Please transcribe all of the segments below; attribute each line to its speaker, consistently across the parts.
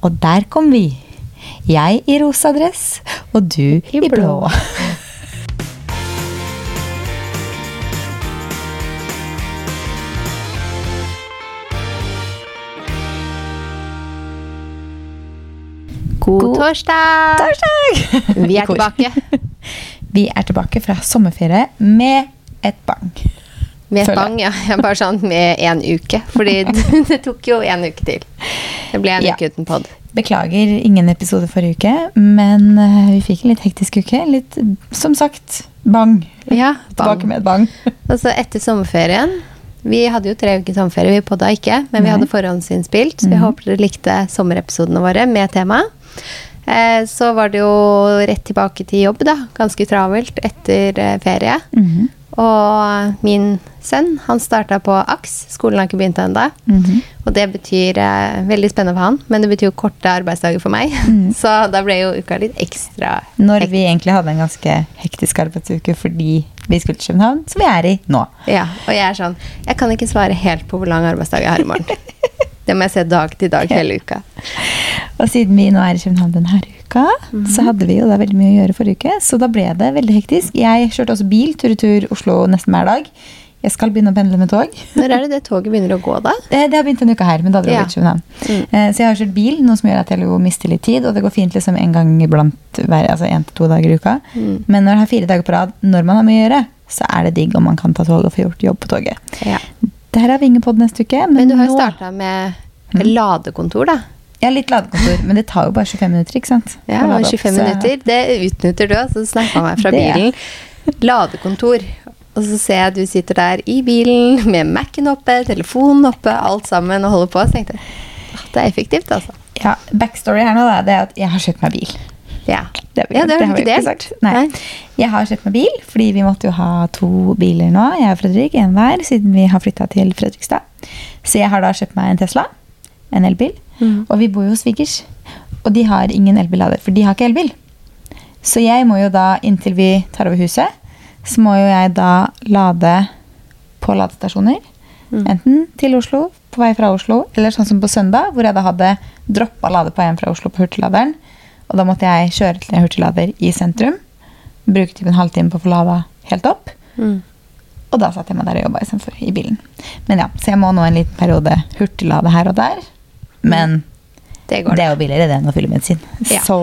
Speaker 1: Og der kom vi. Jeg i rosa dress, og du i,
Speaker 2: blå.
Speaker 1: blå.
Speaker 2: God,
Speaker 1: God
Speaker 2: torsdag!
Speaker 1: Torsdag!
Speaker 2: Vi
Speaker 1: I
Speaker 2: er
Speaker 1: kor.
Speaker 2: tilbake
Speaker 1: Vi er tilbake fra sommerferie med et bang.
Speaker 2: med
Speaker 1: Føler jeg.
Speaker 2: et bang. Ja. Jeg er Bare sånn med én uke. Fordi det tok jo én uke til. Det ble en
Speaker 1: Ja.
Speaker 2: uke uten pod.
Speaker 1: Beklager ingen episode forrige uke, men eh, vi fikk en litt hektisk uke. Litt, som sagt, bang.
Speaker 2: Ja,
Speaker 1: Tilbake med et bang.
Speaker 2: Og så etter sommerferien Vi hadde jo tre uker sommerferie, vi podda ikke, men
Speaker 1: Nei.
Speaker 2: vi
Speaker 1: Mhm.
Speaker 2: hadde forhåndsinnspilt. Så vi håper dere likte sommerepisodene våre med tema. Eh, Så var det jo rett tilbake til jobb, da. Ganske travelt etter eh, ferie.
Speaker 1: Mhm,
Speaker 2: Og min sønn, han starta på AKS. Skolen har ikke begynt ennå.
Speaker 1: mhm.
Speaker 2: Og det betyr eh, veldig spennende for han, men det betyr jo korte arbeidsdager for meg.
Speaker 1: Mhm.
Speaker 2: Så da ble jo uka litt ekstra
Speaker 1: Når vi egentlig hadde en ganske hektisk arbeidsuke fordi vi skulle til København, som vi er i nå.
Speaker 2: Ja, og jeg er sånn Jeg kan ikke svare helt på hvor lang arbeidsdag jeg har i morgen. Det må jeg se dag til dag hele uka.
Speaker 1: Og siden vi nå er i København denne uka,
Speaker 2: Mhm.
Speaker 1: så hadde vi jo da veldig mye å gjøre forrige uke. Så da ble det veldig hektisk. Jeg kjørte også bil tur-retur Oslo nesten hver dag. Jeg skal begynne å pendle med tog.
Speaker 2: Når er det det toget begynner å gå, da?
Speaker 1: Eh, Det har begynt denne uka her, men da dro vi
Speaker 2: Ja. Mm.
Speaker 1: til København. Eh, Så jeg har kjørt bil, noe som gjør at jeg jo mister litt tid. Og det går fint liksom en gang iblant, hver, altså en til to dager i uka.
Speaker 2: Mm.
Speaker 1: Men når det er fire dager på rad, når man har mye å gjøre, så er det digg om man kan ta tog og få gjort jobb på toget.
Speaker 2: Ja.
Speaker 1: Der har vi ingen pod neste uke.
Speaker 2: Men du har jo
Speaker 1: nå- Mm.
Speaker 2: starta med ladekontor, da.
Speaker 1: Ja, litt ladekontor, men det tar jo bare 25 minutter, ikke sant?
Speaker 2: Ja,
Speaker 1: Å lade opp,
Speaker 2: og 25
Speaker 1: så-
Speaker 2: minutter. Det utnytter du altså. òg, så snappa meg fra
Speaker 1: Det.
Speaker 2: bilen. Ladekontor. Og så ser jeg at du sitter der i bilen med Mac-en oppe, telefonen oppe, alt sammen og holder på. Så tenkte jeg «Åh, det er effektivt, altså.
Speaker 1: Ja, backstory her nå da, det er at jeg har kjøpt meg bil.
Speaker 2: Ja.
Speaker 1: Det har vi,
Speaker 2: Ja, det har du
Speaker 1: vi
Speaker 2: ikke delt.
Speaker 1: Nei.
Speaker 2: Nei.
Speaker 1: Jeg har kjøpt meg bil, fordi vi måtte jo ha to biler nå. Jeg og Fredrik, en hver, siden vi har flytta til Fredrikstad. Så jeg har da kjøpt meg en Tesla, en elbil.
Speaker 2: Mhm.
Speaker 1: Og vi bor jo hos svigers. Og de har ingen elbillader, for de har ikke elbil. Så jeg må jo da, inntil vi tar over huset, så må jo jeg da lade på ladestasjoner. Enten til Oslo, på vei fra Oslo, eller sånn som på søndag, hvor jeg da hadde droppa lade på hjem fra Oslo på hurtigladeren. Og da måtte jeg kjøre til en hurtiglader i sentrum. Bruke typ en halvtime på å få lada helt opp.
Speaker 2: Mm.
Speaker 1: Og da satt jeg meg der og jobba istedenfor i bilen. Men ja, Så jeg må nå en liten periode hurtiglade her og der. Men
Speaker 2: Det går.
Speaker 1: det er jo billigere det enn å fylle bensin.
Speaker 2: Ja.
Speaker 1: Så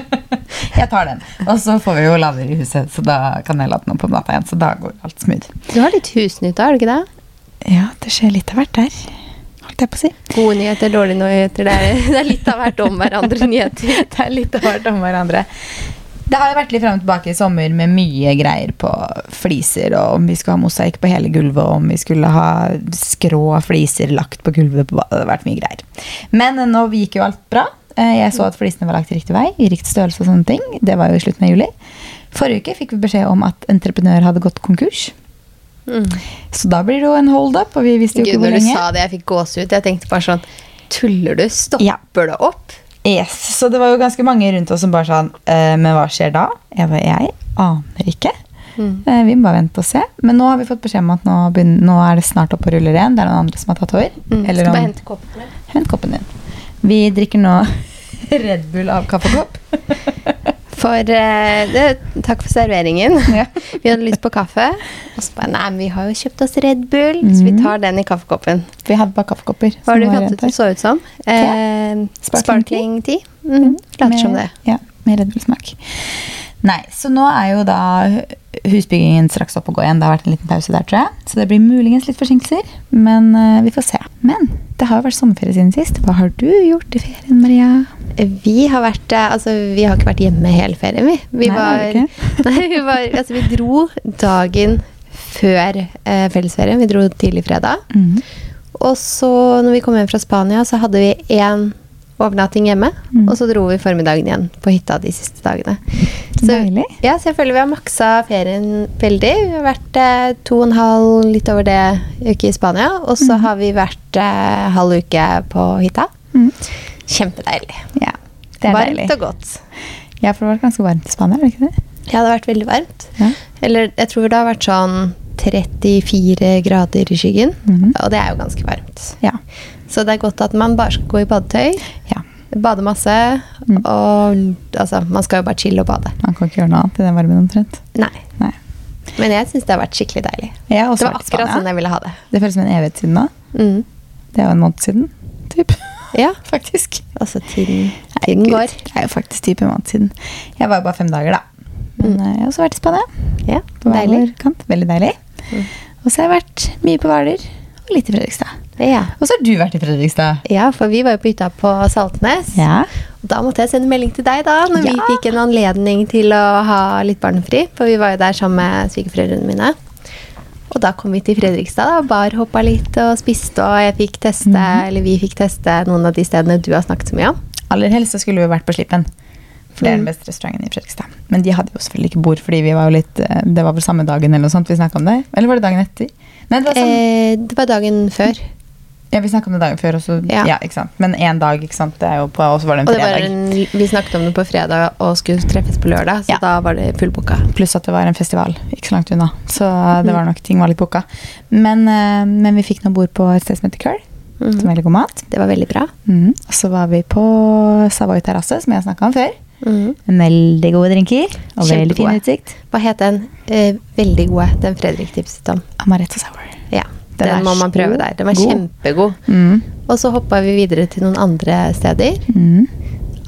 Speaker 1: jeg tar den. Og så får vi jo lader i huset, så da kan jeg lade den opp om natta igjen. Så da går alt smooth.
Speaker 2: Du har litt husnytt, har du ikke det?
Speaker 1: Ja, det skjer litt av hvert der. Holdt jeg på å si.
Speaker 2: Gode nyheter, dårlige nyheter. Det er, det er litt av hvert om hverandre nyheter.
Speaker 1: Det er litt av hvert om hverandre. Det har jo vært litt frem og tilbake i sommer med mye greier på fliser, og om vi skulle ha mosaikk på hele gulvet, og om vi skulle ha skrå fliser lagt på gulvet på badet. Det har vært mye greier. Men eh, nå gikk jo alt bra. Eh, Jeg så at flisene var lagt riktig vei, i riktig størrelse og sånne ting. Det var jo i slutten av juli. Forrige uke fikk vi beskjed om at entreprenør hadde gått konkurs.
Speaker 2: Mm.
Speaker 1: Så da blir det jo en hold up, og vi visste jo
Speaker 2: Gud,
Speaker 1: ikke hvor
Speaker 2: når du
Speaker 1: lenge.
Speaker 2: sa det, jeg fikk gåsehud. Jeg tenkte bare sånn Tuller du? Stopper
Speaker 1: Ja.
Speaker 2: det opp?
Speaker 1: Yes, så det var jo ganske mange rundt oss som bare sånn «Eh, Men hva skjer da? Jeg bare, jeg aner ikke.
Speaker 2: Mm.
Speaker 1: Eh, vi må bare vente og se. Men nå har vi fått beskjed om at nå, begynner, nå er det snart opp og ruller igjen. Det er noen andre som har tatt over.
Speaker 2: Mm.
Speaker 1: Eller
Speaker 2: Skal
Speaker 1: om-
Speaker 2: bare hente koppen min.
Speaker 1: Hent koppen din. Vi drikker nå Red Bull av kaffekopp.
Speaker 2: For eh, det, Takk for serveringen.
Speaker 1: Ja.
Speaker 2: Vi hadde lyst på kaffe. Og så bare Nei, men vi har jo kjøpt oss Red Bull, så
Speaker 1: Mm.
Speaker 2: vi tar den i kaffekoppen.
Speaker 1: Vi hadde bare kaffekopper.
Speaker 2: Hva var
Speaker 1: som
Speaker 2: det vi
Speaker 1: var
Speaker 2: kalte
Speaker 1: rent
Speaker 2: det det så ut som? Eh,
Speaker 1: Sparkling
Speaker 2: sparkling tea. Mm.
Speaker 1: Med-
Speaker 2: Later som det.
Speaker 1: Ja, med Red Bull-smak. Nei, så nå er jo da husbyggingen straks opp og gå igjen. Det har vært en liten pause der, tror jeg. Så det blir muligens litt forsinkelser, men eh, vi får se. Men det har jo vært sommerferie siden sist. Hva har du gjort i ferien, Maria?
Speaker 2: Vi har vært eh, Altså, vi har ikke vært hjemme hele ferien, vi. Vi
Speaker 1: Nei, har du ikke?
Speaker 2: Nei, vi var Altså, vi dro dagen før eh, fellesferien. Vi dro tidlig fredag.
Speaker 1: Mhm.
Speaker 2: Og så, når vi kom hjem fra Spania, så hadde vi én overnatting hjemme.
Speaker 1: Mm.
Speaker 2: Og så dro vi formiddagen igjen på hytta de siste dagene.
Speaker 1: Deilig.
Speaker 2: Ja, så jeg føler vi har maksa ferien veldig. Vi har vært eh, to og en halv, litt over det, uke i Spania. Og så har vi vært eh, halv uke på hytta.
Speaker 1: Mm.
Speaker 2: Kjempedeilig.
Speaker 1: Ja, det er
Speaker 2: Varmt
Speaker 1: deilig.
Speaker 2: og godt.
Speaker 1: Ja, for det har vært ganske varmt i Spania, er det ikke det?
Speaker 2: Ja, det har vært veldig varmt.
Speaker 1: Ja.
Speaker 2: Eller jeg tror det har vært sånn 34 grader i skyggen.
Speaker 1: Mhm.
Speaker 2: Og det er jo ganske varmt.
Speaker 1: Ja.
Speaker 2: Så det er godt at man bare skal gå i badetøy.
Speaker 1: ja.
Speaker 2: Bade masse.
Speaker 1: Mm.
Speaker 2: Og altså, man skal jo bare chille og bade.
Speaker 1: Man kan ikke gjøre noe annet i den varmen omtrent.
Speaker 2: Nei.
Speaker 1: Nei.
Speaker 2: Men jeg syns det har vært skikkelig deilig.
Speaker 1: Jeg har
Speaker 2: Det
Speaker 1: også
Speaker 2: var
Speaker 1: vært i Spania.
Speaker 2: akkurat sånn jeg ville ha det.
Speaker 1: Det føles som en evighet siden da.
Speaker 2: Mm.
Speaker 1: Det er jo en måned siden, typ.
Speaker 2: Ja,
Speaker 1: faktisk.
Speaker 2: altså tiden, tiden
Speaker 1: Gud,
Speaker 2: går.
Speaker 1: Det er jo faktisk typ en måned siden. Jeg var jo bare fem dager, da. Men eh, jeg har også vært i Spania.
Speaker 2: Ja,
Speaker 1: På hver
Speaker 2: deilig.
Speaker 1: vår kant. Veldig deilig.
Speaker 2: Mm.
Speaker 1: Og så har jeg vært mye på Hvaler og litt i Fredrikstad.
Speaker 2: Ja.
Speaker 1: Og så har du vært i Fredrikstad.
Speaker 2: ja, for vi var jo på hytta på Saltnes.
Speaker 1: Ja.
Speaker 2: Og Da måtte jeg sende melding til deg, da, når
Speaker 1: Ja.
Speaker 2: vi fikk en anledning til å ha litt barnefri. For vi var jo der sammen med svigerforeldrene mine. Og da kom vi til Fredrikstad da, og barhoppa litt og spiste. Og jeg fikk teste,
Speaker 1: Mhm.
Speaker 2: eller vi fikk teste noen av de stedene du har snakket så mye om.
Speaker 1: Aller helst så skulle vi jo vært på Slippen. For det er
Speaker 2: Mm.
Speaker 1: den beste restauranten i Fredrikstad. Men de hadde jo selvfølgelig ikke bord, fordi vi var jo litt eh, Det var vel samme dagen eller noe sånt vi snakka om det? Eller var det dagen etter? Nei, det var sånn,
Speaker 2: Eh, det var dagen før.
Speaker 1: ja, Vi snakka om det dagen før, og så ja.
Speaker 2: ja.
Speaker 1: ikke sant. Men én dag, ikke sant. Det er jo på, og så var det en
Speaker 2: Og det var
Speaker 1: fredag.
Speaker 2: en, vi snakket om det på fredag og skulle treffes på lørdag, så
Speaker 1: Ja.
Speaker 2: da var det fullbooka.
Speaker 1: Pluss at det var en festival ikke så langt unna. Så det
Speaker 2: Mm.
Speaker 1: var nok ting var litt booka. Men, eh, men vi fikk noe bord på et sted som heter Curl, som
Speaker 2: Mm.
Speaker 1: er veldig god mat.
Speaker 2: Mhm. Det var veldig bra.
Speaker 1: Mhm. Og så var vi på Savoy terrasse, som jeg snakka om før. Veldig gode drinker Mhm. og veldig fin
Speaker 2: Kjempegode.
Speaker 1: utsikt.
Speaker 2: Hva het den? Eh, veldig gode. Den Fredrik tipset om.
Speaker 1: Amaretto sour.
Speaker 2: Ja,
Speaker 1: Den
Speaker 2: den,
Speaker 1: er
Speaker 2: må man prøve
Speaker 1: så
Speaker 2: der. Den var
Speaker 1: god.
Speaker 2: kjempegod.
Speaker 1: Mm.
Speaker 2: Og så hoppa vi videre til noen andre steder.
Speaker 1: Mm.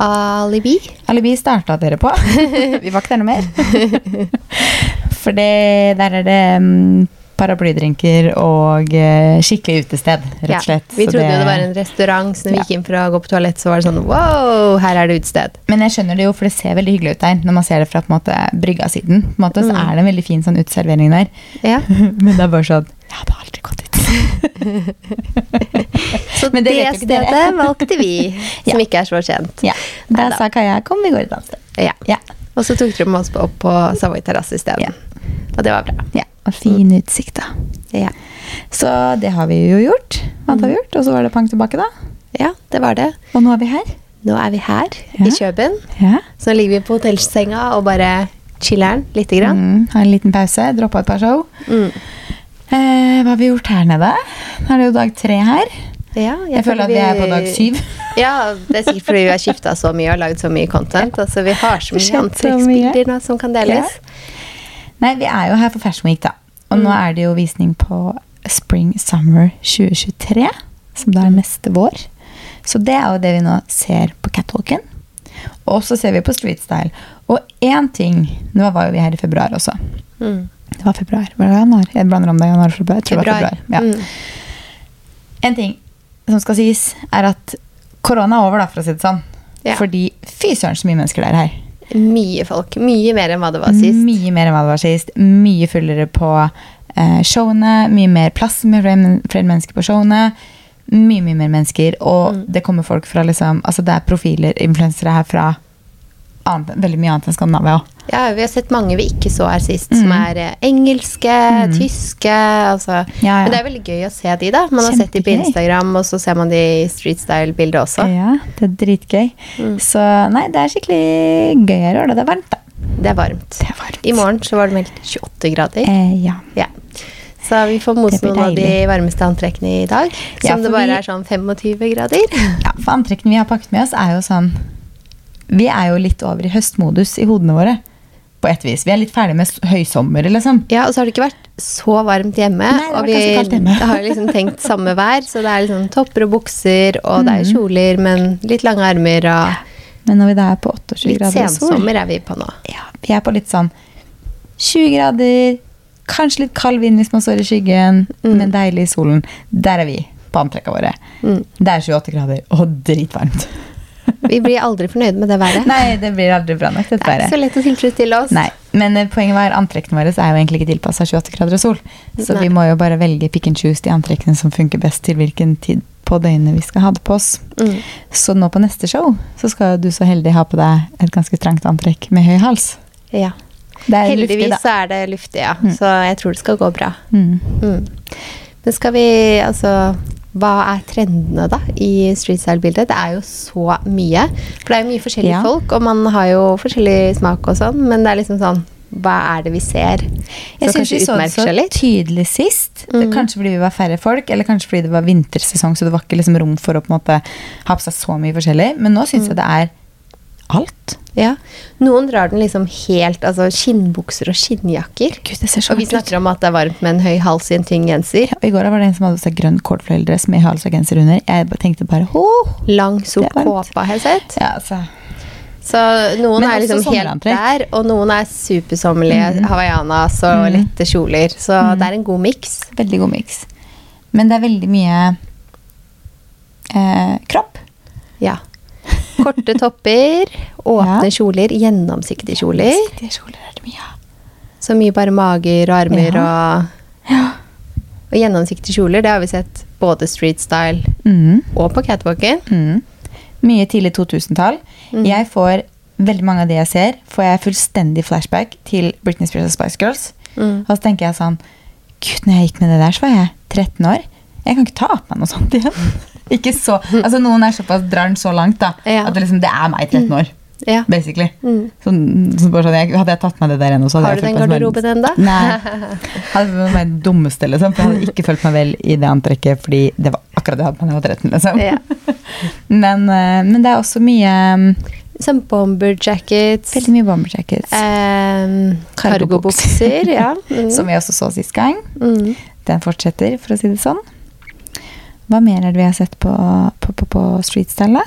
Speaker 2: Alibi.
Speaker 1: Alibi starta dere på. vi var ikke der noe mer. For det, der er det mm, paraplydrinker og eh, skikkelig utested, rett og slett.
Speaker 2: Ja, vi
Speaker 1: Så
Speaker 2: trodde jo det var en restaurant, så når vi
Speaker 1: Ja.
Speaker 2: gikk inn for å gå på toalett, så var det sånn wow, her er det utested.
Speaker 1: Men jeg skjønner det jo, for det ser veldig hyggelig ut der. Når man ser det fra på en måte, brygga siden, på en måte, så
Speaker 2: Mm.
Speaker 1: er det en veldig fin sånn uteservering der.
Speaker 2: Ja.
Speaker 1: Men det er bare sånn Jeg hadde aldri gått dit.
Speaker 2: Så
Speaker 1: Men
Speaker 2: det,
Speaker 1: det vet jo ikke dere.
Speaker 2: stedet valgte vi, som ikke er så kjent.
Speaker 1: Ja, Da
Speaker 2: Neida.
Speaker 1: sa Kaja 'kom, vi går et annet sted'.
Speaker 2: Ja.
Speaker 1: Ja.
Speaker 2: Og så tok dere med oss på- opp på Savoy terrasse isteden.
Speaker 1: Ja.
Speaker 2: Og det var bra.
Speaker 1: ja. Og fin utsikt, da.
Speaker 2: Ja.
Speaker 1: Så det har vi jo gjort. Annet har vi gjort. Og så var det pang tilbake, da.
Speaker 2: ja, det var det.
Speaker 1: Og nå er vi her.
Speaker 2: Nå er vi her
Speaker 1: Ja.
Speaker 2: i Kjøben.
Speaker 1: Ja.
Speaker 2: Så ligger vi på hotellsenga og bare chiller'n lite grann.
Speaker 1: Mm, har en liten pause, droppa et par show.
Speaker 2: Mm.
Speaker 1: Eh, hva har vi gjort her nede? Nå er det jo dag tre her.
Speaker 2: Ja,
Speaker 1: Jeg, føler at vi er på dag syv.
Speaker 2: Ja, det er sikkert fordi vi har skifta så mye og lagd så mye content. Altså, vi har
Speaker 1: Det
Speaker 2: så mye
Speaker 1: skjedde så mye.
Speaker 2: antrekksbilder nå som kan deles.
Speaker 1: Nei, vi er jo her for Fashion Week, da. Og nå
Speaker 2: Mm.
Speaker 1: er det jo visning på Spring Summer 2023, som da er
Speaker 2: Mm.
Speaker 1: neste vår. Så det er jo det vi nå ser på catwalken. Og så ser vi på street style. Og én ting Nå var jo vi her i februar også.
Speaker 2: Mm.
Speaker 1: Det var februar. Var det januar? Jeg blander om det er januar og februar. Jeg tror det var februar. Ja.
Speaker 2: Mm.
Speaker 1: En ting som skal sies, er at korona er over, da, for å si det sånn.
Speaker 2: Ja.
Speaker 1: Fordi fy søren så mye mennesker det er her.
Speaker 2: Mye folk. Mye mer enn hva
Speaker 1: Mm.
Speaker 2: det var sist.
Speaker 1: Mye mer enn hva det var sist. Mye fullere på eh, showene. Mye mer plass med flere men- flere mennesker på showene. Mye, mye mer mennesker. Og det kommer folk fra liksom Altså, det er profiler, influensere her fra annet, veldig mye annet enn Skandinavia òg.
Speaker 2: Ja, vi har sett mange vi ikke så her sist, som er eh, engelske, tyske altså.
Speaker 1: Mm. Ja, ja.
Speaker 2: Men det er veldig gøy å se de, da. Man har sett de på
Speaker 1: Kjempegøy.
Speaker 2: Instagram, og så ser man de i streetstyle-bildet også.
Speaker 1: Ja, Mm. det er dritgøy. Så nei, det er skikkelig gøy her i år. Og det er varmt, da.
Speaker 2: Det er varmt.
Speaker 1: Det er varmt.
Speaker 2: I morgen så var det meldt 28 grader.
Speaker 1: Eh, ja.
Speaker 2: Ja. Så vi får mose
Speaker 1: Det blir
Speaker 2: noen av de
Speaker 1: deilig.
Speaker 2: varmeste antrekkene i dag.
Speaker 1: Ja,
Speaker 2: Som det
Speaker 1: for
Speaker 2: bare
Speaker 1: vi-
Speaker 2: er sånn 25 grader.
Speaker 1: Ja, for antrekkene vi har pakket med oss er jo sånn Vi er jo litt over i høstmodus i hodene våre. På et vis. Vi er litt ferdig med s- høysommer, liksom.
Speaker 2: Ja, og så har det ikke vært så varmt hjemme.
Speaker 1: Nei, det har
Speaker 2: og
Speaker 1: vært ganske kaldt hjemme.
Speaker 2: har liksom tenkt samme vær, så det er liksom topper og bukser, og det er
Speaker 1: Mhm.
Speaker 2: jo kjoler, men litt lange armer og
Speaker 1: Men når vi da er på 28
Speaker 2: litt
Speaker 1: grader og sol
Speaker 2: sensommer er vi på nå.
Speaker 1: ja, Vi er på litt sånn 20 grader, kanskje litt kald vind hvis man står i skyggen, men deilig i solen. Der er vi på antrekkene våre. Det er 28 grader og dritvarmt.
Speaker 2: Vi blir aldri fornøyd med det været.
Speaker 1: Nei, det blir aldri bra nok, dette
Speaker 2: det er
Speaker 1: været.
Speaker 2: ikke så lett å tilfredsstille oss.
Speaker 1: Nei, men eh, poenget var antrekkene våre er jo egentlig ikke tilpassa 28 grader og sol. Så
Speaker 2: Nei.
Speaker 1: vi må jo bare velge pick and choose de antrekkene som funker best til hvilken tid på døgnet vi skal ha det på oss.
Speaker 2: Mm.
Speaker 1: Så nå på neste show så skal jo du så heldig ha på deg et ganske trangt antrekk med høy hals.
Speaker 2: Ja.
Speaker 1: Det er luftig,
Speaker 2: Heldigvis
Speaker 1: da.
Speaker 2: så er det luftig, ja. Så jeg tror det skal gå bra.
Speaker 1: Mm.
Speaker 2: Mm. Men skal vi altså hva er trendene da i streetstyle-bildet? Det er jo så mye. For det er jo mye forskjellige
Speaker 1: Ja.
Speaker 2: folk, og man har jo forskjellig smak og sånn, men det er liksom sånn hva er det vi ser?
Speaker 1: Jeg
Speaker 2: Så
Speaker 1: syns vi
Speaker 2: kanskje
Speaker 1: så det
Speaker 2: utmerker
Speaker 1: så
Speaker 2: seg litt.
Speaker 1: tydelig sist. Kanskje fordi vi var færre folk, eller kanskje fordi det var vintersesong, så det var ikke liksom rom for å på en måte ha på seg så mye forskjellig. Men nå syns jeg det er Mm. alt.
Speaker 2: Ja. Noen drar den liksom helt Altså skinnbukser og skinnjakker.
Speaker 1: Gud, det ser så
Speaker 2: Og vi
Speaker 1: hardt ut.
Speaker 2: snakker om at det er varmt med en høy hals i en tynn genser.
Speaker 1: Og I går var det en som hadde på seg grønn kålfløyeldress med hals og genser under. Jeg bare tenkte bare ho!
Speaker 2: Lang, sort
Speaker 1: Det er varmt.
Speaker 2: kåpe har jeg sett.
Speaker 1: Ja, altså.
Speaker 2: Så noen
Speaker 1: Men
Speaker 2: er
Speaker 1: også
Speaker 2: liksom helt
Speaker 1: sommerantrekk. Mhm.
Speaker 2: der, og noen er supersommerlige hawaiianas og lette kjoler. Så det er en god miks.
Speaker 1: Veldig god miks. Men det er veldig mye eh, kropp.
Speaker 2: Ja. Korte topper, åpne kjoler, gjennomsiktige kjoler.
Speaker 1: Siktige kjoler er det mye av.
Speaker 2: Så mye bare mager og armer
Speaker 1: Ja.
Speaker 2: og Og gjennomsiktige kjoler, det har vi sett både street style
Speaker 1: Mhm,
Speaker 2: og på catwalken.
Speaker 1: mhm. Mye tidlig 2000-tall. Jeg får veldig mange av de jeg ser, får jeg fullstendig flashback til Britney Spears og Spice Girls.
Speaker 2: Mm.
Speaker 1: Og så tenker jeg sånn Gud, når jeg gikk med det der, så var jeg 13 år. Jeg kan ikke ta på meg noe sånt igjen. ikke så, altså Noen er såpass, drar den så langt da,
Speaker 2: Ja. Mm.
Speaker 1: at det, liksom, det er meg 13 år.
Speaker 2: Ja.
Speaker 1: basically.
Speaker 2: Mm.
Speaker 1: Så, så bare sånn, jeg, hadde jeg tatt meg det der ennå, så hadde
Speaker 2: Har du
Speaker 1: jeg
Speaker 2: den garderoben ennå?
Speaker 1: Nei. Hadde vært meg den dummeste, liksom. For jeg hadde ikke følt meg vel i det antrekket, fordi det var akkurat det jeg hadde på meg da jeg var 13. Liksom.
Speaker 2: Ja.
Speaker 1: Men, eh, men det er også mye eh,
Speaker 2: Sånn bomber jackets.
Speaker 1: Veldig mye bomber jackets.
Speaker 2: ehm,
Speaker 1: Cargobukser.
Speaker 2: Cargobukser. Ja. Mm.
Speaker 1: Som vi også så sist gang.
Speaker 2: Mm.
Speaker 1: Den fortsetter, for å si det sånn. Hva mer er det vi har sett på, på, på, på streetstyle?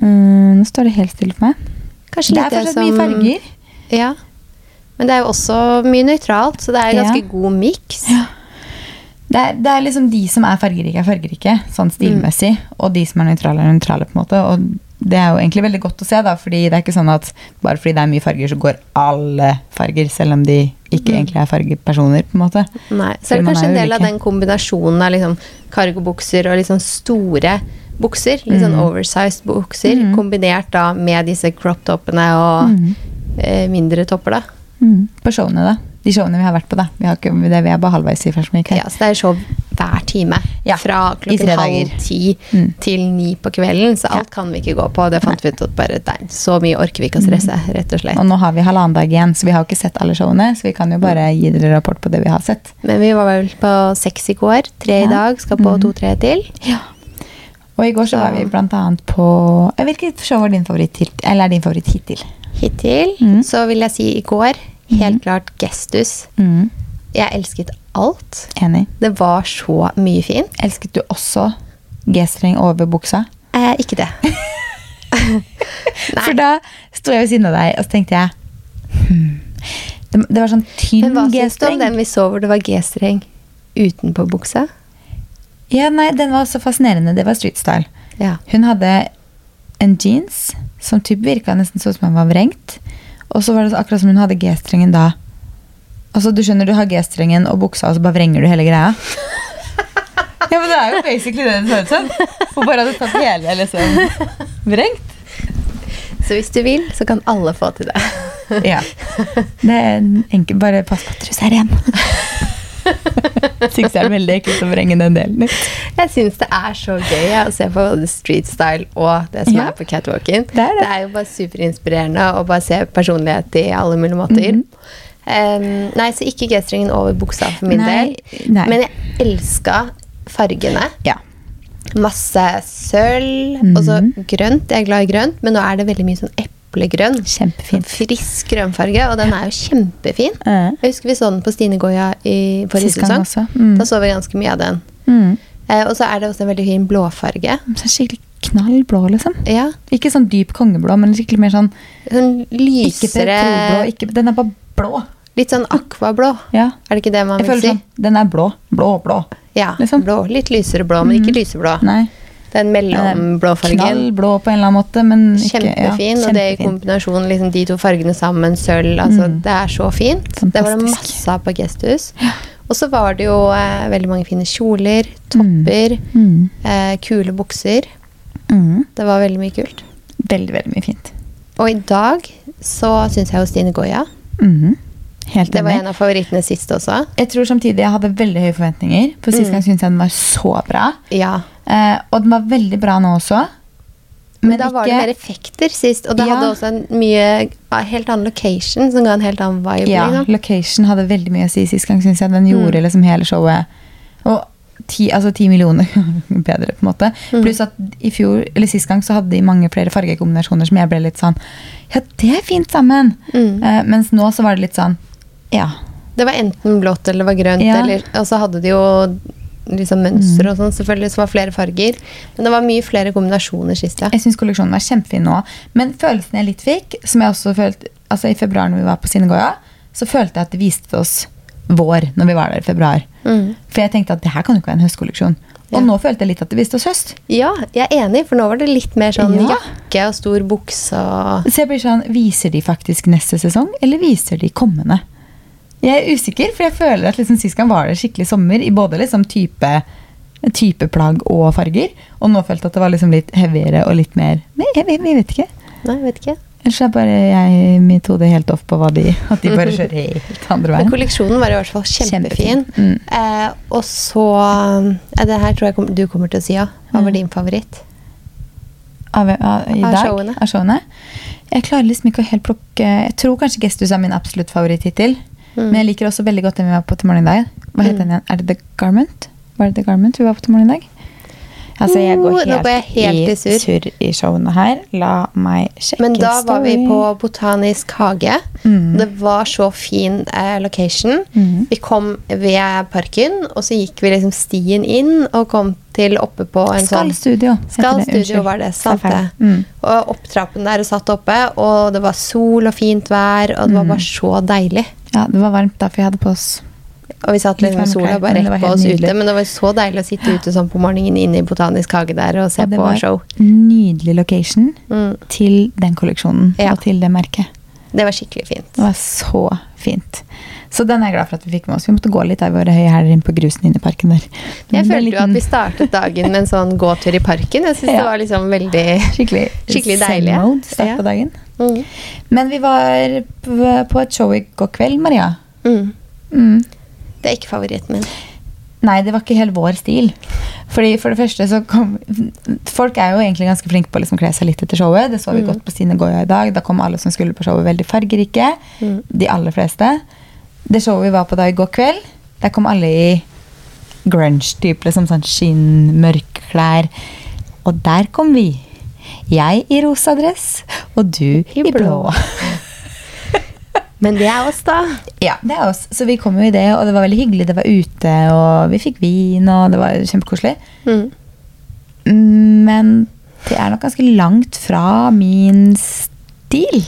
Speaker 1: Mm, nå står det helt stille for meg.
Speaker 2: Kanskje
Speaker 1: Det
Speaker 2: litt
Speaker 1: er fortsatt mye farger.
Speaker 2: Ja. Men det er jo også mye nøytralt, så det er
Speaker 1: Ja.
Speaker 2: ganske god miks.
Speaker 1: Det er, det er liksom de som er fargerike, er fargerike, sånn stilmessig. Og de som er nøytrale, er nøytrale. på en måte. Og det er jo egentlig veldig godt å se, da, fordi det er ikke sånn at bare fordi det er mye farger, så går alle farger, selv om de ikke egentlig er fargepersoner. på en måte.
Speaker 2: Nei, så er
Speaker 1: Fordi
Speaker 2: det
Speaker 1: man
Speaker 2: kanskje
Speaker 1: er
Speaker 2: en
Speaker 1: jo
Speaker 2: del av
Speaker 1: ulike.
Speaker 2: den kombinasjonen av liksom cargobukser og liksom store bukser, litt
Speaker 1: Mm.
Speaker 2: sånn oversized bukser, kombinert da med disse crop-toppene og eh, mindre topper, da.
Speaker 1: Mm. På showene, da. De showene vi har vært på, da. Vi, har ikke, det, vi er bare halvveis i Fashion Week. her.
Speaker 2: Ja, så det er show hver time.
Speaker 1: Ja,
Speaker 2: Fra
Speaker 1: i
Speaker 2: klokken
Speaker 1: tre
Speaker 2: halv
Speaker 1: dager.
Speaker 2: ti
Speaker 1: Mm.
Speaker 2: til ni på kvelden. Så alt kan vi ikke gå på. Det fant vi ut at bare nei, så mye orker vi ikke å stresse,
Speaker 1: Mm.
Speaker 2: rett og slett.
Speaker 1: Og nå har vi halvannen dag igjen, så vi har jo ikke sett alle showene. Så vi kan jo bare
Speaker 2: Mm.
Speaker 1: gi dere rapport på det vi har sett.
Speaker 2: Men vi var vel på seks i går, tre i dag, skal
Speaker 1: Mm.
Speaker 2: på to-tre til.
Speaker 1: Og i går så var vi blant annet på eh, Hvilket show var din favoritt, til, eller er din favoritt hittil?
Speaker 2: Hittil så vil jeg si i går, helt klart gestus.
Speaker 1: Mm.
Speaker 2: Jeg elsket alt.
Speaker 1: Enig.
Speaker 2: Det var så mye fint.
Speaker 1: Elsket du også G-streng over buksa?
Speaker 2: Eh, ikke det. Nei.
Speaker 1: For da sto jeg ved siden av deg, og så tenkte jeg hmm. det, det var sånn
Speaker 2: Men
Speaker 1: tynn
Speaker 2: hva syns du om
Speaker 1: G-streng.
Speaker 2: den vi så hvor det var G-streng utenpå buksa?
Speaker 1: Ja, nei, den var så fascinerende. Det var streetstyle.
Speaker 2: Ja.
Speaker 1: Hun hadde en jeans som typ virka nesten sånn som den var vrengt. Og så var det akkurat som hun hadde G-strengen da. Altså, du skjønner, du har G-strengen og buksa, og så bare vrenger du hele greia. Ja, men det er jo basically det det ser ut som. Hun bare hadde tatt hele liksom, vrengt.
Speaker 2: Så hvis du vil, så kan alle få til det.
Speaker 1: Ja. Det er en enkel, bare pass på at du ser igjen. Syns det er veldig ekkelt å vrenge den delen ut.
Speaker 2: Jeg syns det er så gøy ja, å se på både street style og det som
Speaker 1: Ja.
Speaker 2: er på catwalken.
Speaker 1: Det er det.
Speaker 2: jo bare superinspirerende å bare se personlighet i alle mulige
Speaker 1: Mhm.
Speaker 2: måter. Em, nei, så ikke G-strengen over buksa for min
Speaker 1: Nei,
Speaker 2: del.
Speaker 1: nei.
Speaker 2: Men jeg elska fargene.
Speaker 1: Ja.
Speaker 2: Masse sølv,
Speaker 1: Mhm.
Speaker 2: og så grønt. Jeg er glad i grønt, men nå er det veldig mye sånn eplegrønn.
Speaker 1: Kjempefint.
Speaker 2: Sånn Frisk grønnfarge, og den er jo kjempefin.
Speaker 1: Ja.
Speaker 2: Jeg husker vi så den på Stine Goya i forrige
Speaker 1: Sist gang
Speaker 2: sesong.
Speaker 1: også. Mm.
Speaker 2: Da så vi ganske mye av den.
Speaker 1: Mm.
Speaker 2: Eh, og så er det også en veldig fin blåfarge.
Speaker 1: Så skikkelig knallblå, liksom.
Speaker 2: Ja,
Speaker 1: Ikke sånn dyp kongeblå, men skikkelig mer sånn
Speaker 2: sånn
Speaker 1: ikke petrolblå.
Speaker 2: lysere
Speaker 1: Ikke, den er bare blå.
Speaker 2: Litt sånn akvablå.
Speaker 1: Ja.
Speaker 2: Er det ikke det man
Speaker 1: Jeg
Speaker 2: vil
Speaker 1: føler
Speaker 2: si?
Speaker 1: sånn Den er blå. Blå, blå.
Speaker 2: Ja,
Speaker 1: liksom. Mhm.
Speaker 2: blå. Litt lysere blå, men ikke lyseblå.
Speaker 1: Nei.
Speaker 2: Den mellomblåfargen.
Speaker 1: Knallblå på en eller annen måte, men ikke ja,
Speaker 2: Kjempefin, og det i
Speaker 1: kjempefin. Mm.
Speaker 2: kombinasjon liksom, de to fargene sammen, sølv, altså det er så fint. Det var det
Speaker 1: Fantastisk.
Speaker 2: masse av på Gestus. Og så var det jo eh, veldig mange fine kjoler, topper,
Speaker 1: Mm.
Speaker 2: eh, kule bukser.
Speaker 1: Mm.
Speaker 2: Det var veldig mye kult.
Speaker 1: Veldig, veldig mye fint.
Speaker 2: Og i dag så syns jeg jo Stine Goya.
Speaker 1: Mhm. Helt
Speaker 2: Det var
Speaker 1: enig.
Speaker 2: en av favorittene sist også.
Speaker 1: Jeg tror samtidig jeg hadde veldig høye forventninger.
Speaker 2: Mm.
Speaker 1: For sist gang syntes jeg den var så bra.
Speaker 2: Ja.
Speaker 1: Eh, og den var veldig bra nå også.
Speaker 2: Men,
Speaker 1: Men
Speaker 2: da var det
Speaker 1: ikke-
Speaker 2: mer effekter sist, og det
Speaker 1: Ja.
Speaker 2: hadde også en mye ah, helt annen location som ga en helt annen vibe.
Speaker 1: Ja,
Speaker 2: liksom.
Speaker 1: location hadde veldig mye å si sist gang, syns jeg. Den gjorde
Speaker 2: Mm.
Speaker 1: liksom hele showet Og ti, altså ti millioner bedre, på en måte.
Speaker 2: Mm.
Speaker 1: Pluss at i fjor, eller sist gang så hadde de mange flere fargekombinasjoner som jeg ble litt sånn Ja, det er fint sammen!
Speaker 2: Mm.
Speaker 1: Eh, mens nå så var det litt sånn Ja.
Speaker 2: Det var enten blått eller det var grønt,
Speaker 1: Ja. Mm.
Speaker 2: eller, og så hadde de jo liksom mønster og sånn, selvfølgelig, som var flere farger. Men det var mye flere kombinasjoner sist, ja.
Speaker 1: Jeg syns kolleksjonen var kjempefin nå. Men følelsen jeg litt fikk, som jeg også følte Altså i februar når vi var på Sinegoya, så følte jeg at det viste oss vår når vi var der i februar.
Speaker 2: Mm.
Speaker 1: For jeg tenkte at det her kan jo ikke være en høstkolleksjon. Og
Speaker 2: Ja.
Speaker 1: nå følte jeg litt at det viste oss høst.
Speaker 2: Ja, jeg er enig, for nå var det litt mer sånn
Speaker 1: Ja.
Speaker 2: jakke og stor bukse og
Speaker 1: Så jeg blir sånn, Viser de faktisk neste sesong, eller viser de kommende? Jeg er usikker, for jeg føler at liksom sist gang var det skikkelig sommer i både liksom type, type plagg og farger. Og nå følte jeg at det var liksom litt heavyere og litt mer Nei, jeg, jeg, jeg vet ikke.
Speaker 2: Nei, jeg vet ikke.
Speaker 1: Ellers er bare jeg mitt hode helt off på hva de At de bare kjører helt andre
Speaker 2: Men
Speaker 1: veien.
Speaker 2: kolleksjonen var i hvert fall kjempefin.
Speaker 1: Kjempefin. Mm.
Speaker 2: Eh, og så eh, Det her tror jeg kom, du kommer til å si, ja. Hva var
Speaker 1: Mm.
Speaker 2: din favoritt?
Speaker 1: Av, av, I
Speaker 2: Av
Speaker 1: dag?
Speaker 2: showene.
Speaker 1: Av showene. Jeg klarer liksom ikke å helt plukke Jeg tror kanskje Gestus er min absolutt favoritt hittil.
Speaker 2: Mm.
Speaker 1: Men jeg liker også veldig godt den vi var på til morgen i dag. Hva het
Speaker 2: Mm.
Speaker 1: den igjen? Er det The Garment? Var det The Garment vi var på til morgen i dag? Altså, jeg går
Speaker 2: Oh, nå
Speaker 1: helt,
Speaker 2: går jeg helt i surr.
Speaker 1: i showene her. La meg sjekke
Speaker 2: Men da var vi
Speaker 1: story.
Speaker 2: på Botanisk hage.
Speaker 1: Mm.
Speaker 2: Det var så fin eh, location.
Speaker 1: Mhm.
Speaker 2: Vi kom ved parken, og så gikk vi liksom stien inn og kom til oppe på en
Speaker 1: Skall
Speaker 2: sånn
Speaker 1: Studio. heter
Speaker 2: Skall
Speaker 1: det. Unnskyld.
Speaker 2: Studio var det, sant
Speaker 1: Sa feil.
Speaker 2: det.
Speaker 1: Mm.
Speaker 2: Og opp trappen der og satt oppe, og det var sol og fint vær, og det var bare
Speaker 1: Mm.
Speaker 2: så deilig.
Speaker 1: Ja, det var varmt da, for jeg hadde på oss
Speaker 2: Og vi satt
Speaker 1: Litt
Speaker 2: liksom
Speaker 1: varme
Speaker 2: sola
Speaker 1: klær,
Speaker 2: bare
Speaker 1: men det var
Speaker 2: rett på
Speaker 1: helt
Speaker 2: oss
Speaker 1: nydelig.
Speaker 2: ute, men det var så deilig å sitte ute sånn på morgenen inne i Botanisk hage der og se
Speaker 1: Og det
Speaker 2: på
Speaker 1: var
Speaker 2: show.
Speaker 1: nydelig location
Speaker 2: Mm.
Speaker 1: til den kolleksjonen
Speaker 2: Ja.
Speaker 1: og til det merket.
Speaker 2: Det var skikkelig fint.
Speaker 1: Det var så fint. Så den er jeg glad for at vi fikk med oss. Vi måtte gå litt av våre høye hæler inn på grusen inne i parken der.
Speaker 2: Jeg
Speaker 1: Det er en
Speaker 2: følte jo at
Speaker 1: liten-
Speaker 2: vi startet dagen med en sånn gåtur i parken. Jeg syns
Speaker 1: Ja.
Speaker 2: det var liksom veldig
Speaker 1: Skikkelig,
Speaker 2: skikkelig
Speaker 1: zen
Speaker 2: deilige.
Speaker 1: mode start
Speaker 2: Ja.
Speaker 1: på dagen.
Speaker 2: mm.
Speaker 1: Men vi var p- på et show i går kveld, Maria.
Speaker 2: Mm.
Speaker 1: Mm.
Speaker 2: Det er ikke favoritten min.
Speaker 1: Nei, det var ikke helt vår stil. Fordi for det første så kom Folk er jo egentlig ganske flinke på å liksom kle seg litt etter showet. Det så vi
Speaker 2: Mm.
Speaker 1: godt på Stine Goya i dag. Da kom alle som skulle på showet, veldig fargerike.
Speaker 2: Mm.
Speaker 1: De aller fleste. Det showet vi var på da i går kveld, der kom alle i grunge-type. Liksom sånn skinn, mørke klær. Og der kom vi. Jeg i rosa dress, og du
Speaker 2: I
Speaker 1: i blå.
Speaker 2: blå. Men det er oss, da.
Speaker 1: Ja, det er oss. Så vi kom jo i det, og det var veldig hyggelig. Det var ute, og vi fikk vin, og det var kjempekoselig.
Speaker 2: Mm.
Speaker 1: Men det er nok ganske langt fra min stil.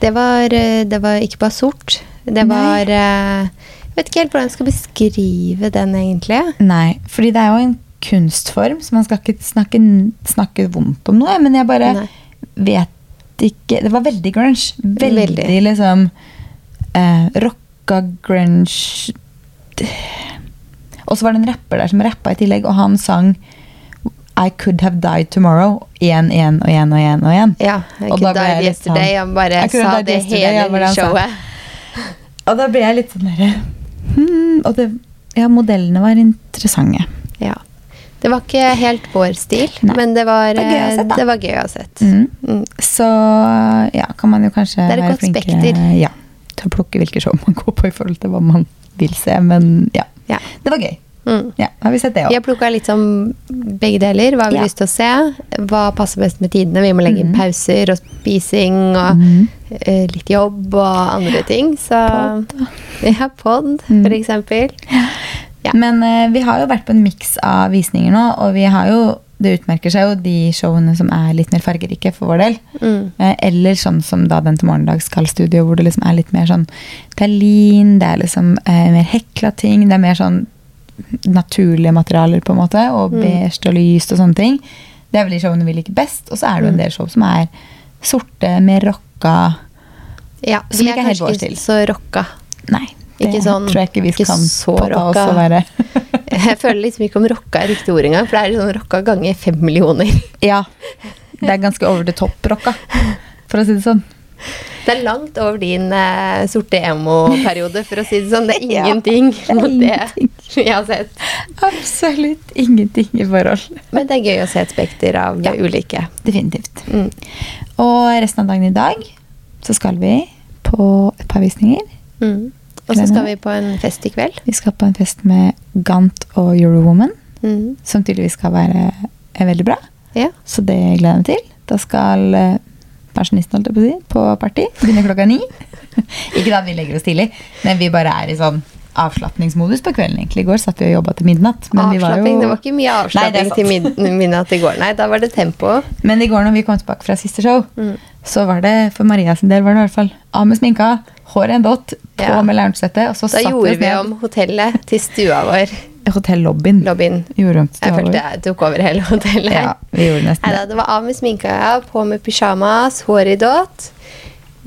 Speaker 2: Det, var, eh, det var ikke bare sort. Det
Speaker 1: Nei.
Speaker 2: var eh, Jeg vet ikke helt hvordan jeg skal beskrive den, egentlig.
Speaker 1: Nei, fordi det er jo en kunstform, så man skal ikke snakke, snakke vondt om noe. Men jeg bare
Speaker 2: Nei.
Speaker 1: vet ikke Det var veldig grunge. Veldig,
Speaker 2: Veldig.
Speaker 1: liksom eh, rocka grunge Og så var det en rapper der som rappa i tillegg, og han sang I could have died tomorrow. Igjen, igjen og igjen og igjen. og igjen.
Speaker 2: Ja, jeg
Speaker 1: Og da
Speaker 2: kunne
Speaker 1: ble jeg litt
Speaker 2: died
Speaker 1: sånn-
Speaker 2: yesterday. Han bare
Speaker 1: Jeg kunne
Speaker 2: sa
Speaker 1: died
Speaker 2: det
Speaker 1: yesterday,
Speaker 2: hele
Speaker 1: ja, var det han sa.
Speaker 2: showet.
Speaker 1: Og da ble jeg litt sånn derre hmm, Og det, ja, modellene var interessante.
Speaker 2: Ja. Det var ikke helt vår stil,
Speaker 1: Nei.
Speaker 2: men det var,
Speaker 1: Det var gøy å ha
Speaker 2: eh,
Speaker 1: sett, da.
Speaker 2: det var gøy å ha sett.
Speaker 1: Mm.
Speaker 2: Mm.
Speaker 1: Så ja, kan man jo kanskje
Speaker 2: Det er et
Speaker 1: være
Speaker 2: godt
Speaker 1: flinkere
Speaker 2: spekter.
Speaker 1: ja, til å plukke hvilke show man går på i forhold til hva man vil se. Men ja,
Speaker 2: Ja.
Speaker 1: det var gøy.
Speaker 2: Mm.
Speaker 1: Ja, da har vi sett det òg.
Speaker 2: Jeg plukka litt sånn begge deler. Hva har vi
Speaker 1: Ja.
Speaker 2: lyst til å se? Hva passer best med tidene? Vi må legge inn
Speaker 1: Mhm.
Speaker 2: pauser og spising og
Speaker 1: Mhm.
Speaker 2: eh, litt jobb og andre ting. Så Ja, pod,
Speaker 1: Mhm.
Speaker 2: for eksempel. Ja.
Speaker 1: Men eh, vi har jo vært på en miks av visninger nå, og vi har jo, det utmerker seg jo de showene som er litt mer fargerike for vår del.
Speaker 2: Mm.
Speaker 1: Eh, Eller sånn som da den til morgendag skal studio, hvor det liksom er litt mer sånn Det er lin, det er liksom eh, mer hekla ting, det er mer sånn naturlige materialer, på en måte. Og
Speaker 2: Mm.
Speaker 1: beige og lyst og sånne ting. Det er vel de showene vi liker best. Og så er det
Speaker 2: Mm.
Speaker 1: jo en del show som er sorte, mer rocka
Speaker 2: Ja,
Speaker 1: Som
Speaker 2: vi
Speaker 1: ikke
Speaker 2: er
Speaker 1: er helt
Speaker 2: kanskje
Speaker 1: vår
Speaker 2: ikke
Speaker 1: stil.
Speaker 2: så rocka.
Speaker 1: Nei, det
Speaker 2: Ikke sånn-
Speaker 1: tror jeg ikke vi
Speaker 2: ikke
Speaker 1: kan
Speaker 2: så
Speaker 1: påta oss
Speaker 2: rocka.
Speaker 1: å være.
Speaker 2: Jeg føler liksom ikke om rocka er riktig ord engang, for det er sånn rocka ganger fem millioner.
Speaker 1: ja. Det er ganske over the top-rocka, for å si det sånn.
Speaker 2: Det er langt over din eh, sorte emo-periode, for å si det sånn. Det er
Speaker 1: Ja,
Speaker 2: ingenting
Speaker 1: det er
Speaker 2: mot
Speaker 1: ingenting.
Speaker 2: det jeg har sett.
Speaker 1: Absolutt ingenting i forhold.
Speaker 2: Men det er gøy å se et spekter av
Speaker 1: Ja.
Speaker 2: ulike.
Speaker 1: Definitivt.
Speaker 2: Mm.
Speaker 1: Og resten av dagen i dag så skal vi på et par visninger.
Speaker 2: Mm. Og så skal vi på en fest i kveld.
Speaker 1: Vi skal på en fest med Gant og Eurowoman,
Speaker 2: Mm.
Speaker 1: som tydeligvis skal være er veldig bra.
Speaker 2: Ja.
Speaker 1: Så det gleder jeg meg til. Da skal eh, pensjonisten holdt jeg på, å si, på party. Begynner klokka ni. Ikke da vi legger oss tidlig, men vi bare er i sånn avslapningsmodus på kvelden. egentlig. I går satt vi og jobba til midnatt. Men, vi var
Speaker 2: Avslapping. Det var
Speaker 1: jo...
Speaker 2: ikke mye avslapping
Speaker 1: Nei,
Speaker 2: til
Speaker 1: det er
Speaker 2: mid midnatt i går. Nei, da var det tempo.
Speaker 1: men i går når vi kom tilbake fra siste show,
Speaker 2: Mm.
Speaker 1: så var det for Maria sin del var det i hvert fall av med sminka, håret en dott, på
Speaker 2: Ja.
Speaker 1: med loungesettet, og så
Speaker 2: Da
Speaker 1: satt vi
Speaker 2: gjorde
Speaker 1: oss
Speaker 2: vi
Speaker 1: ned
Speaker 2: om hotellet til stua vår.
Speaker 1: i hotellobbyen.
Speaker 2: Lobbyen.
Speaker 1: Gjorde vi om til
Speaker 2: Jeg
Speaker 1: stua
Speaker 2: følte
Speaker 1: vår.
Speaker 2: jeg tok over hele hotellet.
Speaker 1: Ja, vi gjorde nesten
Speaker 2: Neida, det var av med sminka, ja, på med pysjamas, hår i dott.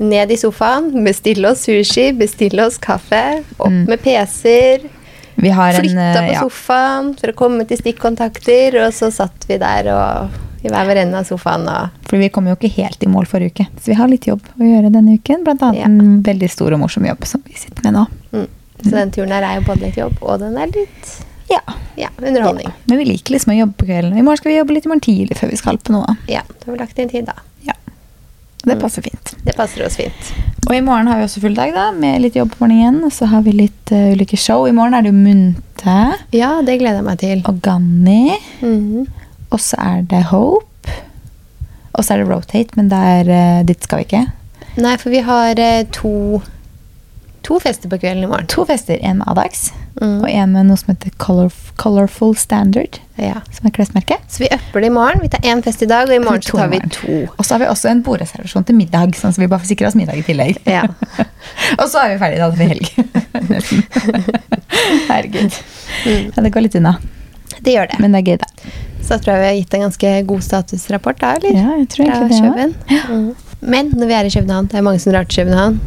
Speaker 2: Ned i sofaen, bestille oss sushi, bestille oss kaffe. Opp
Speaker 1: Mm.
Speaker 2: med PC-er.
Speaker 1: Vi har en,
Speaker 2: Flytta
Speaker 1: eh,
Speaker 2: på
Speaker 1: ja.
Speaker 2: sofaen for å komme til stikkontakter. Og så satt vi der og i hver vår ende av sofaen. Og,
Speaker 1: For vi kom jo ikke helt i mål forrige uke, så vi har litt jobb å gjøre denne uken. Blant annet
Speaker 2: Ja.
Speaker 1: en veldig stor og morsom jobb som vi sitter med nå.
Speaker 2: mm. Så den turen her er jo både litt jobb, og den er litt
Speaker 1: Ja.
Speaker 2: ja, underholdning.
Speaker 1: Men vi liker liksom å jobbe på kvelden. I morgen skal vi jobbe litt i morgen tidlig før vi skal på noe.
Speaker 2: Ja, Da har vi lagt inn tid, da.
Speaker 1: Ja. Og
Speaker 2: Mm.
Speaker 1: Det passer fint.
Speaker 2: Det passer oss fint.
Speaker 1: Og i morgen har vi også full dag, da, med litt jobb på morgenen. Og så har vi litt eh, ulike show. I morgen er det jo Munte
Speaker 2: Ja, det gleder jeg meg til.
Speaker 1: og Ganni.
Speaker 2: Mhm.
Speaker 1: Og så er det Hope. Og så er det Rotate, men det er eh, dit skal vi ikke.
Speaker 2: Nei, for vi har eh, to, to fester på kvelden i morgen.
Speaker 1: To fester. En med Adax
Speaker 2: Mm.
Speaker 1: og en med noe som heter Colorf Colorful Standard,
Speaker 2: Ja.
Speaker 1: som er klesmerket.
Speaker 2: Så vi øpper det i morgen. Vi tar én fest i dag, og i morgen så
Speaker 1: To i
Speaker 2: tar vi
Speaker 1: morgen.
Speaker 2: to.
Speaker 1: Og så har vi også en bordreservasjon til middag, sånn at vi bare får sikre oss middag i tillegg.
Speaker 2: Ja.
Speaker 1: og så er vi ferdige, da hadde vi helg. Nesten. Herregud.
Speaker 2: Mm.
Speaker 1: Ja, det går litt unna,
Speaker 2: Det gjør det.
Speaker 1: men det er gøy, da.
Speaker 2: Så tror jeg vi har gitt en ganske god statusrapport da, eller?
Speaker 1: Ja, jeg tror
Speaker 2: Fra
Speaker 1: egentlig det også.
Speaker 2: Kjøben. Mm. Men når vi er i København, det er mange som drar til København,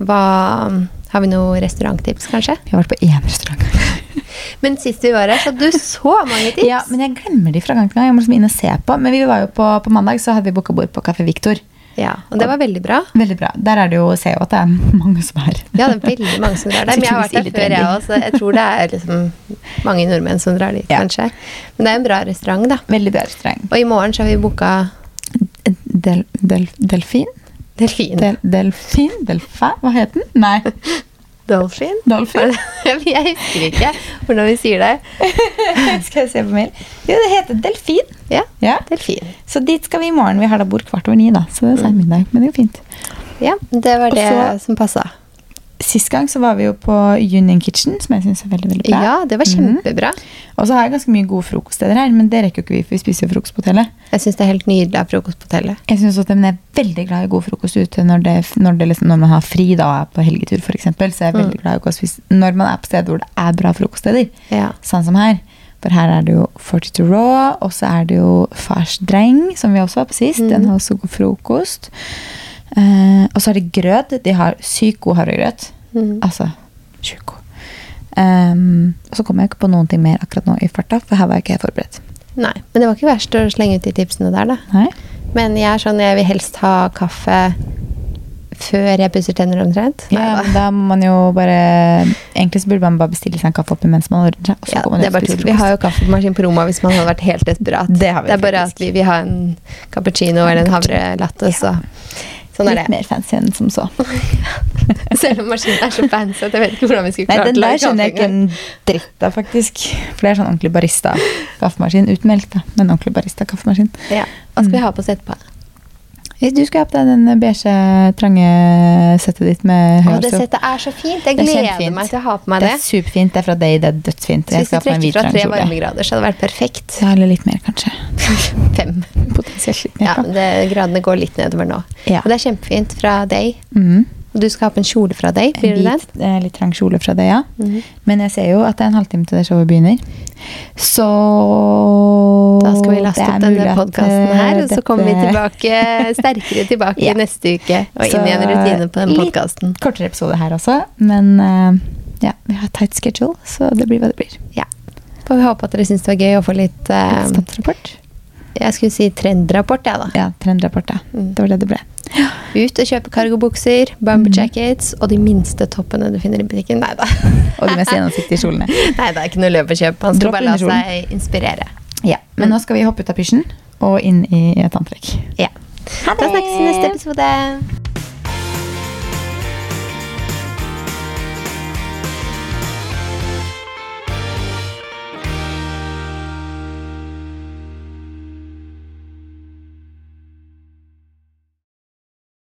Speaker 2: hva, mm, har vi noen restauranttips, kanskje?
Speaker 1: Vi har vært på én restaurant.
Speaker 2: Men sist vi var her, så hadde du så mange tips.
Speaker 1: Ja, men jeg glemmer de fra gang til gang. Jeg må liksom inn og se på. Men vi var jo på, på mandag, så hadde vi booka bord på Kafé Victor.
Speaker 2: Ja, og det var veldig bra.
Speaker 1: Veldig bra. Der er det jo, ser jeg jo at det er mange som er
Speaker 2: Ja, det er veldig mange som drar der. Men jeg har vært der før, jeg også. Jeg tror det er liksom mange nordmenn som drar dit,
Speaker 1: Ja.
Speaker 2: kanskje. Men det er en bra restaurant, da.
Speaker 1: Veldig bra restaurant.
Speaker 2: Og i morgen så har vi booka
Speaker 1: Del, del, delfin?
Speaker 2: delfin.
Speaker 1: Del, delfin? Delfa? Hva het den? Nei,
Speaker 2: Dolphin?
Speaker 1: Dolphin.
Speaker 2: Jeg husker ikke hvordan vi sier det.
Speaker 1: Skal jeg se på mail? Jo, det heter delfin.
Speaker 2: Ja,
Speaker 1: Ja.
Speaker 2: delfin.
Speaker 1: Så dit skal vi i morgen. Vi har da bord kvart over ni, da. Så det er sein middag, men det går fint.
Speaker 2: Ja, det var
Speaker 1: Og
Speaker 2: det
Speaker 1: så-
Speaker 2: som passa.
Speaker 1: Sist gang så var vi jo på Union Kitchen, som jeg syns er veldig veldig bra. Mhm.
Speaker 2: Ja, det var kjempebra.
Speaker 1: Og så har jeg ganske mye gode frokoststeder her, men det rekker jo ikke vi, for vi spiser jo frokost på hotellet.
Speaker 2: Jeg syns det er helt nydelig av frokost på hotellet.
Speaker 1: Jeg synes også at men jeg er veldig glad i god frokost ute når, det, når, det liksom, når man har fri da, og er på helgetur, f.eks. Så jeg er veldig glad i å gå og spise når man er på steder hvor det er bra frokoststeder.
Speaker 2: Ja.
Speaker 1: Sånn som her. For her er det jo 42 Raw, og så er det jo Fars Dreng, som vi også var på sist.
Speaker 2: Mm.
Speaker 1: Den har også god frokost. Eh, og så er det grøt. De har sykt god havregrøt.
Speaker 2: Mm.
Speaker 1: Altså sjukt god. Ehm, og så kommer jeg ikke på noen ting mer akkurat nå i farta, for her var jeg ikke helt forberedt.
Speaker 2: Nei, men det var ikke verst å slenge ut de tipsene der, da.
Speaker 1: Nei?
Speaker 2: Men jeg er sånn, jeg vil helst ha kaffe før jeg pusser tenner, omtrent. Nei
Speaker 1: Ja,
Speaker 2: da.
Speaker 1: men da må man jo bare Egentlig så burde man bare bestille seg en kaffe oppi mens man ordner seg. Og så
Speaker 2: Ja,
Speaker 1: går man ut
Speaker 2: det er
Speaker 1: og
Speaker 2: bare
Speaker 1: spiser
Speaker 2: tull. Vi
Speaker 1: frokost.
Speaker 2: har jo kaffemaskin på rommet hvis man hadde vært helt desperat.
Speaker 1: Det har vi
Speaker 2: er bare
Speaker 1: faktisk.
Speaker 2: at vi vil ha en cappuccino eller en havrelatte, så sånn er
Speaker 1: Litt
Speaker 2: det.
Speaker 1: mer fancy enn som så.
Speaker 2: Selv om maskinen er så fancy at jeg vet ikke hvordan vi skulle
Speaker 1: Nei,
Speaker 2: klart
Speaker 1: den
Speaker 2: å
Speaker 1: der
Speaker 2: lage
Speaker 1: skjønner jeg
Speaker 2: kaffe
Speaker 1: ikke
Speaker 2: engang.
Speaker 1: en dritt av, faktisk. For det er sånn ordentlig barista-kaffemaskin. Uten melk, da, men ordentlig barista-kaffemaskin.
Speaker 2: Ja. Hva skal vi ha på oss etterpå?
Speaker 1: Du skulle ha på deg den beige, trange settet ditt med
Speaker 2: Å, det
Speaker 1: høyhalset.
Speaker 2: settet er så fint! Jeg
Speaker 1: Det er
Speaker 2: gleder
Speaker 1: kjempefint.
Speaker 2: meg til å ha på meg
Speaker 1: Det
Speaker 2: det.
Speaker 1: er superfint. Det er fra Day, det er dødsfint.
Speaker 2: Så
Speaker 1: Jeg
Speaker 2: hvis vi
Speaker 1: skal ha på meg en
Speaker 2: trekker
Speaker 1: hvit,
Speaker 2: fra
Speaker 1: trang
Speaker 2: tre
Speaker 1: kjole.
Speaker 2: varmegrader, så hadde det vært perfekt.
Speaker 1: Ja, eller litt mer, kanskje.
Speaker 2: Fem.
Speaker 1: Potensielt litt
Speaker 2: Ja,
Speaker 1: mer.
Speaker 2: men det, gradene går litt nedover nå.
Speaker 1: Ja.
Speaker 2: Og det er kjempefint fra Day.
Speaker 1: Ja. Mm.
Speaker 2: Og du skal ha på en kjole fra Day, blir det Mhm.
Speaker 1: En
Speaker 2: den?
Speaker 1: hvit, eh, litt trang kjole fra det, ja. Men jeg ser jo at det er en halvtime til det showet begynner. Så
Speaker 2: Da skal vi laste
Speaker 1: det er
Speaker 2: opp
Speaker 1: mulig
Speaker 2: denne
Speaker 1: at,
Speaker 2: podkasten
Speaker 1: eh,
Speaker 2: her, og så
Speaker 1: dette-
Speaker 2: kommer vi tilbake sterkere tilbake
Speaker 1: Ja.
Speaker 2: neste uke og
Speaker 1: Så
Speaker 2: inn i en rutine på den podkasten.
Speaker 1: Litt kortere episode her også, men eh, ja, vi har tight schedule, så det blir hva det blir. Um,
Speaker 2: Ja. Får vi håpe at dere syns det var gøy å få litt eh,
Speaker 1: Statsrapport.
Speaker 2: Jeg skulle si trendrapport, jeg, da.
Speaker 1: Ja, trendrapport, ja.
Speaker 2: Mm.
Speaker 1: Det var det det ble.
Speaker 2: Ut og kjøpe cargobukser, bumper
Speaker 1: Mhm.
Speaker 2: jackets og de minste toppene du finner i butikken. Nei da.
Speaker 1: Og de mest gjennomsiktige kjolene.
Speaker 2: Nei, det er ikke noe løpekjøp. Han skal
Speaker 1: Dropp
Speaker 2: bare la
Speaker 1: underkjolen.
Speaker 2: seg inspirere.
Speaker 1: Ja, Men nå skal vi hoppe ut av pysjen og inn i et antrekk.
Speaker 2: Ja.
Speaker 1: Ha
Speaker 2: Da snakkes i neste episode.